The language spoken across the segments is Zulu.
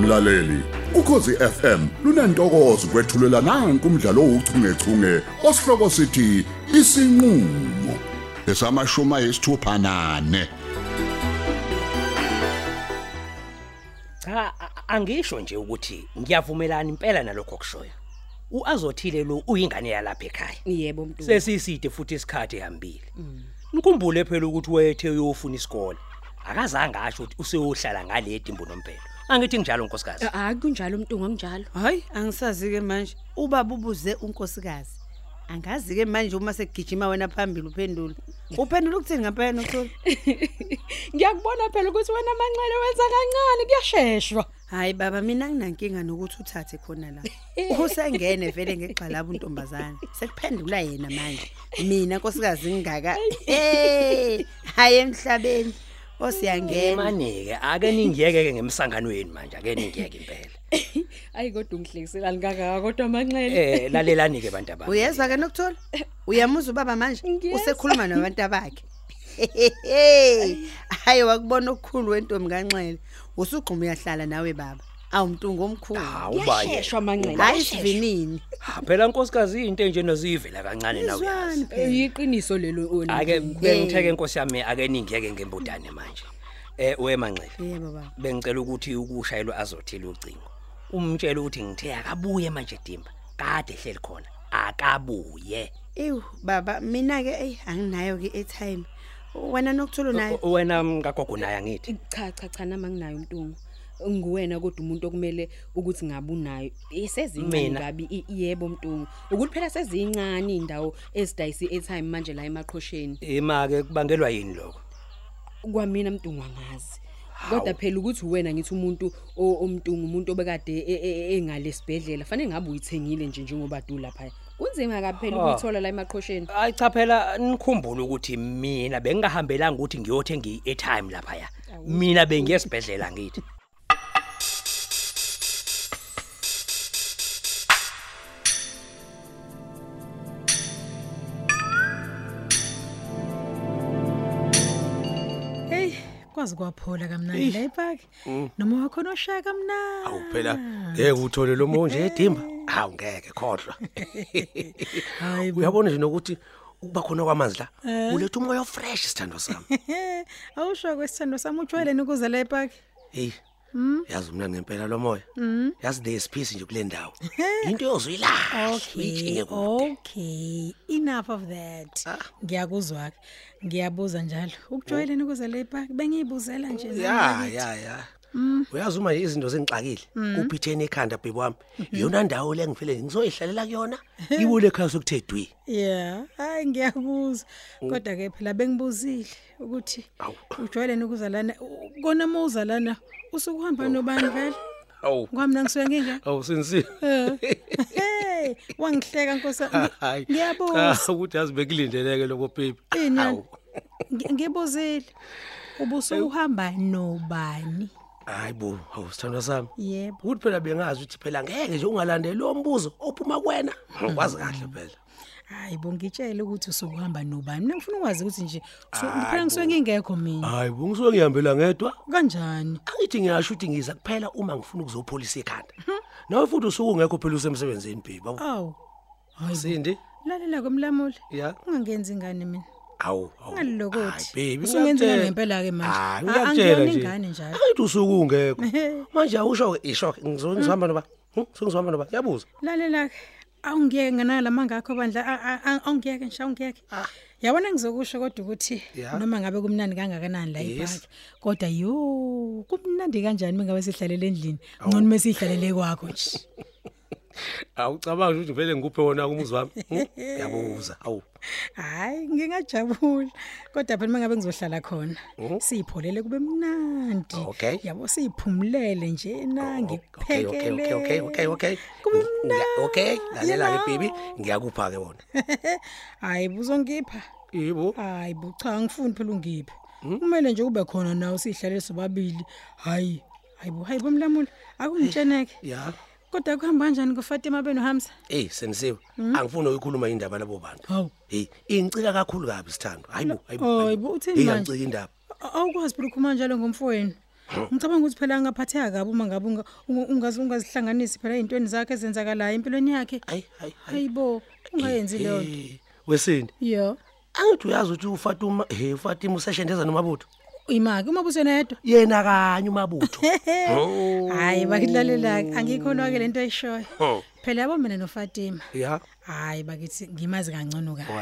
mlaleli ukhosi FM lunantokozo kwethulela nange umdlalo ouchungechunge osihloko sithi isinqulo lesamashuma yisithupha nane Cha a- angisho nje ukuthi ngiyavumelana impela nalokho okushoyo. Uazothile lo uyingane yalapha ekhaya. Yebo Mtu. Sesiside futhi isikhathi ehambile. Nikhumbule phela ukuthi wethe uyofuna isikole. Akazange asho ukuthi useyohlala ngale dimbu nompelo. Angithi njalo nkosikazi. Ah kunjalo Mtu ngokunjalo. Hayi, angisazi ke manje. Ubaba ubuze unkosikazi. Angazi ke manje uma sekugijima wena phambili uphendula. Uphendula ukuthini ngempela uthula? Ngiyakubona phela ukuthi wena amanxele wenza kancane kuyasheshwa. Hayi baba, mina nginankinga nokuthi uthathe khona la. Usengene vele ngegxalaba untombazana. Sekuphendula yena manje. Mina nkosikazi ngingaka. Eh, hayi emhlabeni. Oh, Osiyangena. Emanike ake ningiyeke ke ngemsangano wenu manje ake ningiyeke impela. Ayi kodwa ungihlekiselani kangaka kodwa amanxele. Eh lalelani ke bantu abantu. Uyezwa ke nokuthola? Uyamuza ubaba manje? Ngiyezwa. Usekhuluma nabantu abakhe. Hey, hayi wakubona okukhulu wentombi kanxele. Usugquma uyahlala nawe baba. Awumntu ngomkhulu. Hawu baye. Yasheshwa amanxele. Hayi sivinini. Ha, Ah, Phela nkosikazi into nje nozivela kancane nawe. uyazi. Izwani phela. Uyiqiniso Eh, lelo ona. Ake bengitheke inkosi yami ake ningiyeke ngembudane manje. Eh wemanxele. Yebo baba. Bengicela ukuthi ukushayelwe azothile ucingo. Umtshele ukuthi ngithe akabuye manje Dimba. Kade ehleli khona. Akabuye. Ew baba mina ke ey anginayo ke airtime. Wena nokuthola nayo. U- Wena mkagogo naye angithi. Cha cha cha nama nginayo Mtu. Nguwena kodwa umuntu okumele ukuthi ngabe unayo. Isezincane Mina. kabi i- yebo Mtu. Ukuthi phela sezincane indawo esidayisi airtime manje la emaqhosheni. Ima ke kubangelwa yini lokho? kwamina mntungu angazi kodwa phela ukuthi wena ngithi umuntu o- omntungu umuntu obekade e- e- e- engalesibhedlela fanele ngabe uyithengile nje njengoba du lapha kunzima kaphela Ha. ukuyithola la emaqhosheni Hayi cha phela nikhumbule ukuthi mina bengingahambelanga ukuthi ngiyothenga i-airtime lapha ya. Mina bengiyesibhedlela ngithi. Hey, kwazi kwaphola kamnandi la ipaki. Noma wakhona oshaya kamnandi. Awu Mm. phela ngeke uthole lo monje eh, edimba. Hawu ngeke khodlwa. Hayi bo. Uyabona nje nokuthi ukuba khona kwamanzi la Eh. uletha umoya ofresh sithando sami. Awusho Eh, kwesithando sami utshweleni ukuze la ipaki. Hey. Mm. Yazi mina ngempela lo moya. Yazi there is peace nje kule ndawo. Into yozuyilahla. Okay. Oh, Okay. Enough of that. Ah. Ngiyakuzwa ke. Ngiyabuza njalo. Ukujwayeleni ukuze la ipaki bengiyibuzela nje. nami Oh. Ya ngakithi. ya ya. Mm. Uyazi uma nje izinto zengixakile kuphitheni ekhanda bhebi wami. Mhm. Yona ndawo le ngifile ngizoyihlalela kuyona. Ibule ekhaya sokuthedwi. Yeah, hayi ngiyakuzwa. Kodwa ke phela bengibuzile ukuthi Awu. ujwayeleni ukuza lana kona mawuza lana usukuhamba nobani vele? Awu. Kwami nangiswe nginjani? Awu sinsini. Hey, wangihleka Nkosi. Hayi. Ngiyabuza. Cha Ah, ukuthi yazi bekulindeleke lokho baby. Ini yani? Hawu. Ngi- Ngibuzile. Ubuso uhamba nobani? Hayi bo, hawu sithandwa sami. Yebo. Ukuthi phela bengazi ukuthi phela ngeke nje ungalandeli lo mbuzo ophuma kuwena. Mm. Ngikwazi kahle phela. Hayi bongitshela ukuthi usukuhamba nobani. Mina ngifuna ukwazi ukuthi nje usu- ngiphela ngiswe ngingekho mina. Hayi bo, ngisuke ngihambela ngedwa. Kanjani? Angithi ngiyasho ukuthi ngiza kuphela uma ngifuna ukuzopholisa ekhanda. Nawe futhi usuke ungekho phela usemsebenzini baby. Bawu. Aw. Sindi? Lalela kwemlamuli. Ya. Ungangenzi ingane mina. Awu, awu. Ungalilokothi. Hayi, baby, Usungenzela ngiyakutshela. ngempela-ke manje. Hayi, Ah, ngiyakutshela angiyona nje. ingane njalo. Angithi usuke ungekho. Manje awusho ke isho ngizongizihamba noba. Hm, ngizongizihamba noba. Yabuza. Lalela ke. Awungiyeke nganala mangakho bandla a- a- a- awungiyeke ngisho awungiyeke. Yabona ngizokusho kodwa ukuthi Ah. Ya. noma ngabe kumnandi kangakanani la Yes. ibhanki kodwa yo kumnandi kanjani mingabe sihlalele endlini ngcono mase sihlalele kwakho nje. Awucabanga ukuthi vele ngikuphe wona umuzi wami. Hm, Yabuza. Awu. Hayi ngingajabula kodwa phela mangabe ngizohlala khona sipholele kube mnandi. Oh. Okay. Oh, Yabo siphumulele nje nangi Okay, okay, okay, okay, okay, okay. Kube Ngi- ngiya- Okay, lalela ke you baby, know. ngiyakupha ke wona. Hayi buzongipha. Yebo. Hayi bo cha angifuni phela ungiphi. Kumele nje kube khona nawe sihlalele sobabili. Hayi. Hayi bo hayi bomlamuli akungitsheneke. Ya. Kodwa kuhamba kanjani kuFatima beno Hamza? Eh, senisiwe. Angifuni ukukhuluma indaba labo bantu. Hawu. Hey, ingicika kakhulu kabi sithando. Hayibo, hayibo. Hayi hayibo. bo uthini Hey, manje? angicika indaba. A- Awukwazi phela ukukhuluma njalo ngomfowenu. Ngicabanga ukuthi phela angaphatheka kabi uma ngabe unga- unga- ungaze ungazihlanganisi phela izinto zakhe ezenzakalayo empilweni yakhe. Ayi, ayi, ayi. Hayibo, ungayenzi leyo nto. Eh, wesini Yo. angithi uyazi ukuthi ufatima he ufatima useshendeza nomabutho Imaki uma busena yedwa. yena kanye umabutho Hayi bakilalela angikholwa ke lento Oh. ayishoyo. Phela yabo mina noFatima. ya Hayi bakithi ngimazi kangcono kabi.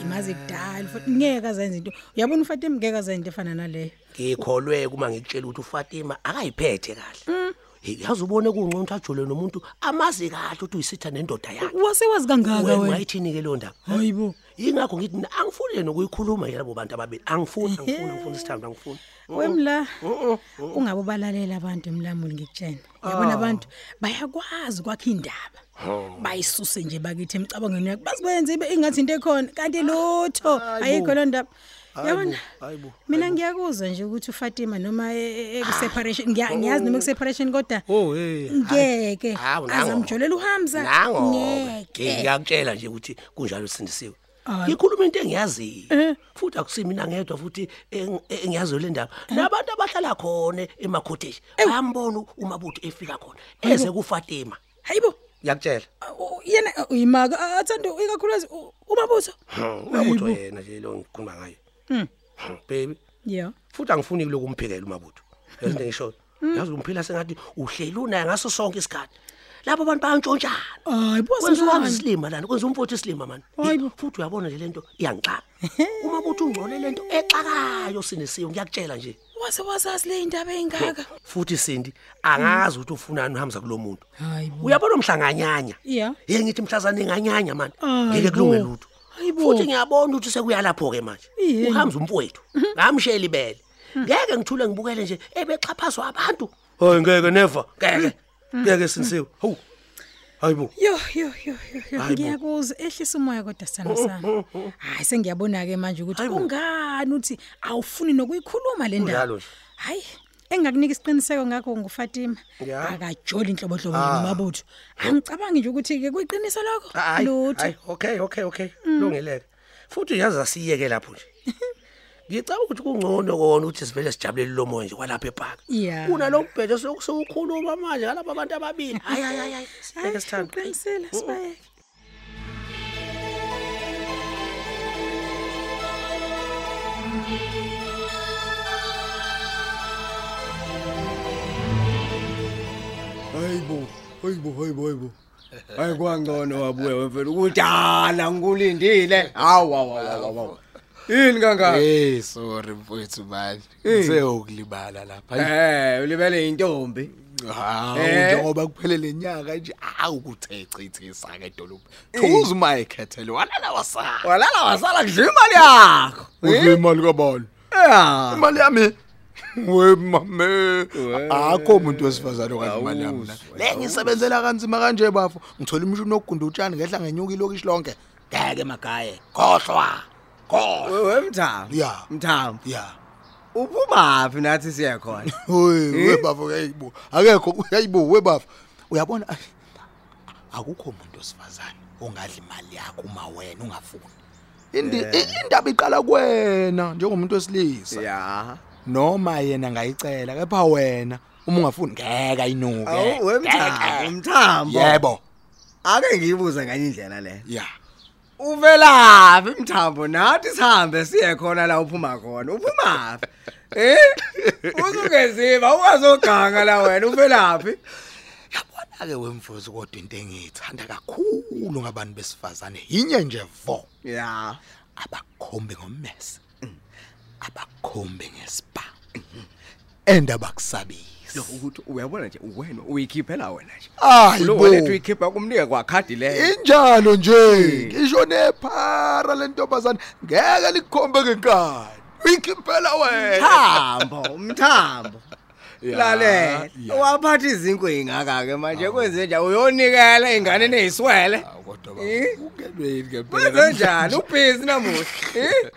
Ngimazi kudala futhi ngeke azenze into. Uyabona uFatima ngeke azenze into efana naleyo. ngikholweke uma ngikutshela ukuthi ufatima akayiphethe Mm. kahle Hey, yazi ubone kungcono ukuthi ajule nomuntu amazi kahle ukuthi uyisitha nendoda yakhe Wase wazi kangaka Wena wena. wayithini ke leyo ndaba Hayibo. yingakho ngithi mina angifuni le nokuyikhuluma yalabo bantu ababili angifuni angifuni angifuni isithando angifuni Wemla. Oh, Ungabe ubalalela abantu emlamuli ngikutshena. Yabona Ah. abantu bayakwazi kwakhe indaba. Oh. Bayisuse nje bakithi emcabangweni yakhe. Bazibenze ibe ingathi into ekhona kanti lutho ayikho lo ndaba. Yabona? Ah, hayibo, Ah. Mina ngiyakuzwa nje ukuthi uFatima noma e- e- eku separation ngiya- ngiyazi noma eku separation kodwa oh hey ngeke Hawu, nango. azamjolela uHamza. nangoke ngiyakutshela nje ukuthi kunjalo sindisiwe ngikhuluma into engiyaziyo futhi akusimi mina ngedwa futhi eng- engiyaziyo le ndaba nabantu abahlala khona emakhoteji bayambona umabutho efika khona eze kufatima Hayibo. ngiyakutshela u- Yena uyimaka athanda ikakhulukazi u- umabutho. umabutho yena nje lo ngikhuluma ngayo Hmm, baby Yeah. futhi angifuni lokhu umphikela umabutho yazi into engishoyo yazi umphila sengathi uhleli unaye ngaso sonke isikhathi lapho abantu bayantshontshana Hayi bo. kwenza singani. ubaba isilima lana kwenza umfowethu isilima mani Eh, futhi uyabona nje lento iyangixaka uma kuthi ungcole lento exakayo sinisiwe ngiyakutshela nje wase wasazi le ndaba engaka futhi sindi angazi ukuthi ufunani uhamba kulo muntu hayibo uyabona umhlanganyanya Yeah. ye ngithi mhlazane nganyanya mani Hayi ngeke kulunge bo. lutho Hayi bo. futhi ngiyabona ukuthi sekuyalapho ke manje Yebo. uhamba umfowethu ngamshela ibele Mm. ngeke ngithule ngibukele nje ebexhaphazwa abantu hayi ngeke never ngeke ngeke sinisiwe ho hayibo yo yo yo yo, yo Hayi bo. Oh, ngiyakuzwa ehlisa umoya kodwa sithando sami hayi sengiyabona ke manje ukuthi Hayi bo. kungani uthi awufuni nokuyikhuluma le Kunjalo ndaba nje. hayi engakunika isiqiniseko ngakho ngufatima Ya. Ah. akajoli inhlobonhlobo nomabutho angicabangi nje ukuthi-ke kuyiqiniso lokho Hayi, lutho hayi, Ah, okay okay okay Mm. lungeleke futhi yazi asiyeke lapho nje ngicabanga ukuthi kungcono kona ukuthi sivele sijabulele lo moya nje kwalapha epark Yeah. kunalo mbhedo sokukhuluma manje ngalapha abantu ababili hayi hayi hayi, Oh, hayi Hayi, sibheke sithando uqinisile sibayeke hayibo hayibo hayibo hayibo hayi kwangcono wabuya wemfela ukuthi ala ngikulindile hawu hawu hawu, hawu hawu. yini kangaka hey sorry mfowethu manje ngiseyogulibala lapha Hayi, eh ulibele intombi hawu Eh. njengoba kuphelele nyaka nje awu kuthechithisa ke edolobha thuza uma ekhethele walala wasala walala wasala kudla imali yakho udle Eh? imali kabani ya imali yami we mame akho umuntu wesifazane okwazi imali yami la. Awuzwa, le ngisebenzela kanzima kanje bafo ngithola imishini yokugunda utshani ngehla ngenyuka ilokishi lonke ngeke magaye khohlwa khohlwa wemthambo Ya. mthambo ya uphumaphi nathi siye khona Hey webafu uyayibo. Akekho uyayibo webafu. Uyabona ay, akukho umuntu osifazane ongadla imali yakho uma wena ungafuni. Indi i- indaba iqala kuwena njengomuntu wesilisa ya noma yena ngayicela kepha wena uma ungafuni ngeke ayinuke. awu wemthambo Ngeke. mthambo Yebo. ake ngiyibuze nganye indlela le Ya. uvelaphi mthambo nathi sihambe siye khona la uphuma khona uphumaphi eh uzungeziva ungazoganga la wena uvelaphi Yabona ke wemfuzo kodwa into engiyithanda kakhulu ngabantu besifazane yinye nje vo. ya abakhombe ngommese abakhombe ngespa and abakusabisi lo ukuthi uyabona nje uwena uyikhiphela wena nje lo wena ethi ayibo uyikhipha kumnike kwakhadi leyo injalo nje ngisho nephara lentombazane ngeke likhombe ngenkani uyikhiphela wena mthambo mthambo Ya, lalela ya. waphatha izinkwe ingaka ke manje kwenze nje uyonikela ingane neziswele Ah, kodwa Eh? baba, ungenwe yini kwenze ngempela namhlanje? njani ubhizi namuhla eh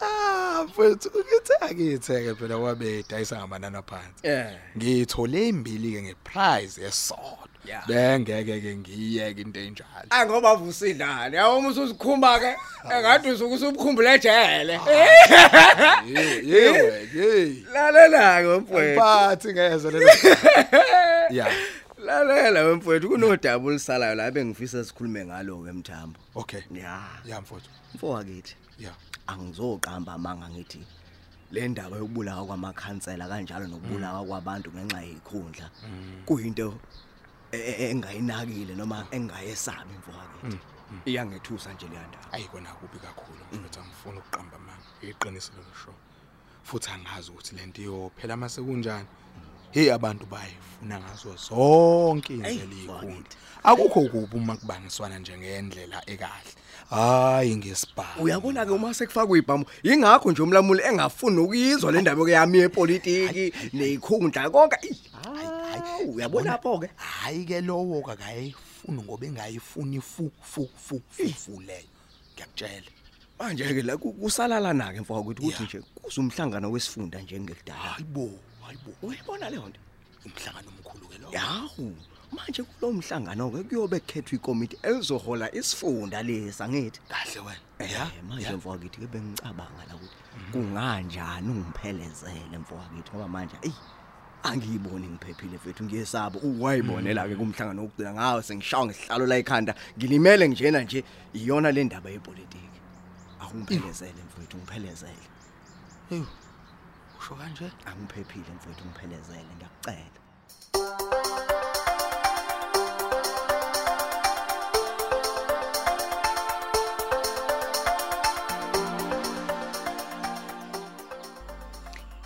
cha mfethu ngithe akitheke phela kwabeda ayisangamanani aphansi yeah ngithole imbili ke ngeprize esodwa Yeah. bengeke ke ngiyeke into enjalo Ayi Ah, ngoba avusidlane. Yawo uma usuzikhumba Ah, ke engathi usuke usubukhumbule ejele. Eh, yewe hey Lalela ke mfowethu. phathi ngeze lelo yeah Lalela ke mfowethu kunodaba olusalayo la bengifisa sikhulume ngalo ke mthambo. okay Yeah. yeah mfowethu Mfowakithi. yeah angizoqamba amanga ngithi le ndaba yokubulawa kwamakhansela kanjalo nokubulawa kwabantu ngenxa yekhundla kuyinto e- e- engayinakile noma engayesabi mfowethu iyangethusa nje le ndaba ayikona kubi kakhulu mfowethu angifuni ukuqamba mama iqiniso lelo show futhi angazi ukuthi lento iyophela ama sekunjani hey abantu bayifuna ngazo zonke indlela ikhulu akukho kubi uma kubangiswana nje ngendlela ekahle hayi ngesibhamu uyabona ke uma sekufakwa ibhamu ingakho nje umlamuli engafuni ukuyizwa le ndaba yami yepolitiki neyikhundla konke eyi, hayi, uyabona pho ke hayi ke lowo akayifuni ngoba engayifuni fu fu fu fu- fu leyo ngiyakutshela manje ke la ku- kusalalana ke mfowethu ukuthi Yeah. nje kuzumhlangano wesifunda njengekudala hayibo hayibo uyibona le nto umhlangano omkhulu ke lowo yawu manje kulo mhlangano ke kuyobe khethwa ikomiti elizohola isifunda lesa ngithi kahle wena Mhm. eh manje mfowethu ke bengicabanga la ukuthi kunganjani ungiphelezele mfowethu ngoba manje ey angiyiboni ngiphephile mfethu ngiyesaba uwayibonela Mhm. ke kumhlangano wokugcina ngawo sengishawa ngesihlalo la ekhanda ngilimele njena nje iyona le ndaba yepolitiki akungiphelezele mfethu ngiphelezele usho kanje angiphephile mfethu ngiphelezele ngiyakucela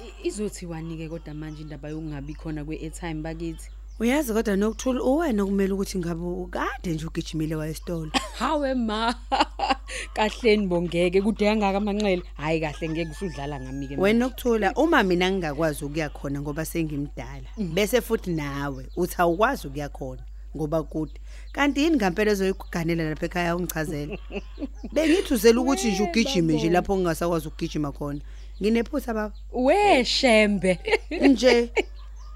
I- Izothiwani-ke kodwa manje indaba yokungabi khona kwe-airtime bakithi uyazi kodwa nokuthula uwena okumele ukuthi ngabe ukade nje ugijimile wayesitolo hawe ma kahleni bongeke kude kangaka amanxele hhayi kahle ngeke usudlala ngami-ke wena nokuthula uma mina ngingakwazi ukuya khona ngoba sengimdala bese futhi nawe uthi awukwazi ukuya khona ngoba kude kanti yini ngampela ezoyiganela lapha ekhaya ungichazela bengithi uzela ukuthi nje ugijime nje lapho ngingasakwazi ukugijima khona nginephutha baba weshembe nje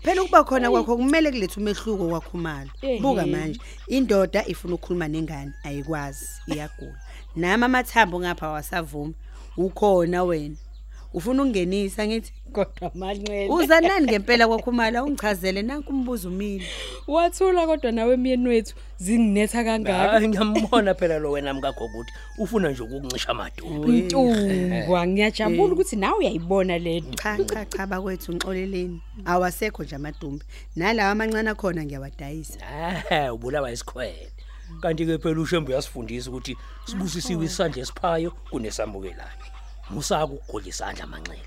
phela ukuba khona kwakho kumele kulethe umehluko kwakhumalo Ehhe. buka manje indoda ifuna ukukhuluma nengane ayikwazi iyagula nami amathambo ngapha wasavuma ukhona wena ufuna ukungenisa ngithi kodwa amanxele uza nani ngempela kwakhumalo awungichazele nanku umbuzo umile wathula kodwa nawe emyeni wethu zinginetha kangaka hayi ngiyambona phela lo wena mkakho ukuthi ufuna nje ukukuncisha amadolo intungwa ngiyajabula ukuthi nawe uyayibona le nto cha cha cha bakwethu ngixoleleni awasekho nje amadumbe nalawa amancane akhona ngiyawadayisa ah ubulawa isikhwele kanti ke phela uShembe uyasifundisa ukuthi sibusisiwe isandla esiphayo kunesamukelayo musaka ukugula isandla manxele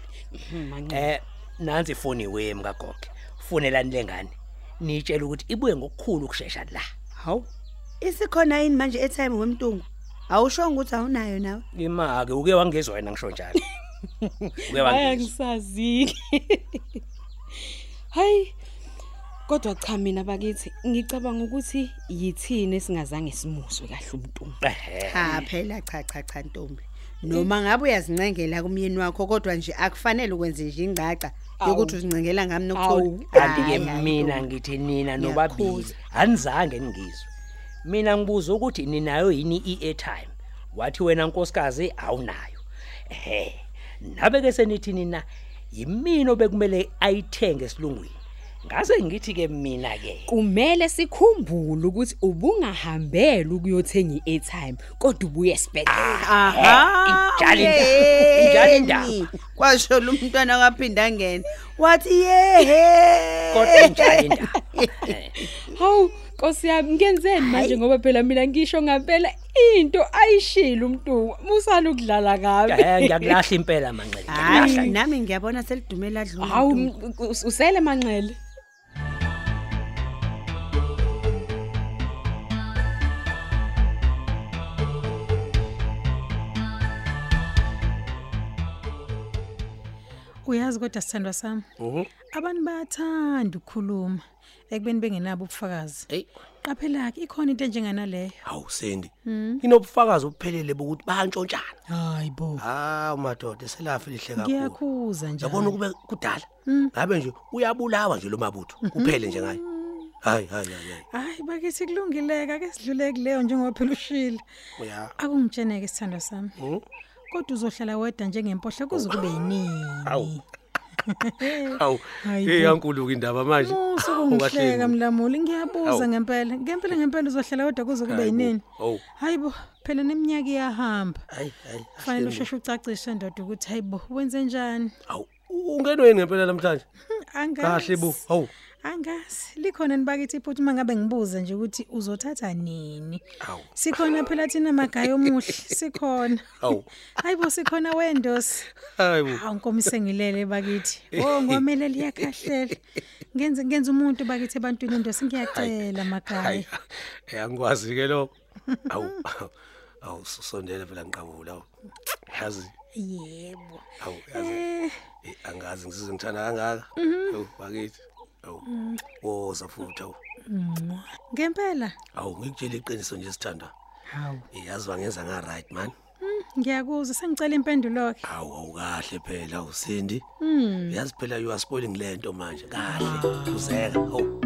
eh nansi ifoni we mkagogo funelani lengane nitshela ukuthi ibuye ngokukhulu ukusheshsha la hawu isikhona yini manje etime wemtungu awushonge ukuthi awunayo nawe imake uke wangezwa wena ngisho njalo uke wangezwa ayangisazike hayi kodwa cha mina bakithi ngicabanga ukuthi yithini esingazange simuzwe kahle umntu ehe cha phela cha cha cha ntombi noma ngabe uyazincengela kumyeni wakho kodwa nje akufanele ukwenze nje ingcaca yokuthi uzincengela ngami Awu. nokuthula kanti Hhayi, ke hhayi, mina ntombi. ngithi nina Ngiyakhuza. nobabili anizange ningizwe mina ngibuza ukuthi ninayo yini i-airtime wathi wena nkosikazi awunayo ehe nabe ke senithi nina yimina obekumele ayithenge esilungwini ngase ngithi ke mina ke kumele sikhumbule ukuthi ubungahambela ukuyothenga i-airtime kodwa ubuye esibhedlela Ah. Aha, injalo indaba injalo indaba yeni. kwasho lo mntwana kwaphinda angena wathi yehe kodwa injalo indaba Eh, hawu nkosi yami ngenzeni manje ngoba phela mina ngisho ngampela into ayishile umntu musana ukudlala kabi eh, ngiyakulahla impela manxele hayi nami ngiyabona selidumela adlula hawu ntombi. us- usele manxele Uyazi kodwa sithandwa sami. Abantu bayathanda ukukhuluma ekubeni bengenabo ubufakazi. Hey. Qaphela ke ikhona into enjenganaleyo. hawu sendi inobufakazi obuphelele bokuthi bayantshontshana Hayibo. hawu madoda selafi lihle kakhulu Ngiyakhuza nje. yabona ukube kudala ngabe nje uyabulawa nje lo mabutho kuphele nje ngaye hayi hayi hayi Hayi bakithi kulungileka ake sidlule kuleyo njengoba phela ushilo. uya Akungitsheneke sithando sami. Mhm. Kodwa uzohlala wedwa njengempohla Oh. kuze kube yinini. Awu. awu Awu. hey ankulu ke indaba manje Musa Ungahleki. kungihleka mlamuli Awu. ngiyabuza ngempela. Ngempela ngempela uzohlala wedwa kuze kube Hayi bo, yinini. awu. Hayibo phela neminyaka iyahamba. hayi hayi Fanele ahleki. usheshe ucacishe ndoda ukuthi hayibo wenze njani? awu ungenwe yini ngempela namhlanje Angazi. kahle bo awu Angazi likhona nibakithi iphuthu mangabe ngibuza nje ukuthi uzothatha nini. Awu. Sikhona phela thina magayi omuhle, sikhona. Awu. Hayibo sikhona wendosi. hayi bo Hawu nkomise ngilele bakithi. Oh ngomele liyakhahlela. Ngenze ngenze umuntu bakithi ebantwini indosi ngiyacela hayi magayi. eh angikwazi ke lo awu awu susondela phela ngiqabula awu yazi Yebo. awu yazi Eh Eh, angazi ngisize ngithanda kangaka Yo, bakithi awu woza futhi awu ngempela. awu ngikutshela iqiniso nje sithanda Hawu. Eh, yazi wangenza nga right man Ngiyakuzwa sengicela impendulo ke. awu awukahle phela usindi mm. yazi phela you are spoiling lento manje kahle uzeka awu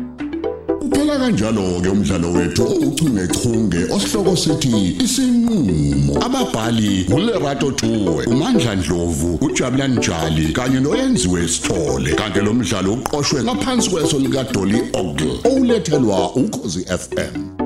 Uphela kanjalo ke umdlalo wethu ouchungechunge osihloko sithi isinqulo. Ababhali ngulerato Thuwe, uMandla Dlovu, uJabulani Njali kanye noyenziwe Sithole. Kanti lo mdlalo uqoqwwe ngaphansi kweso lika Dolly Ogle, owulethelwa ukhosi FM.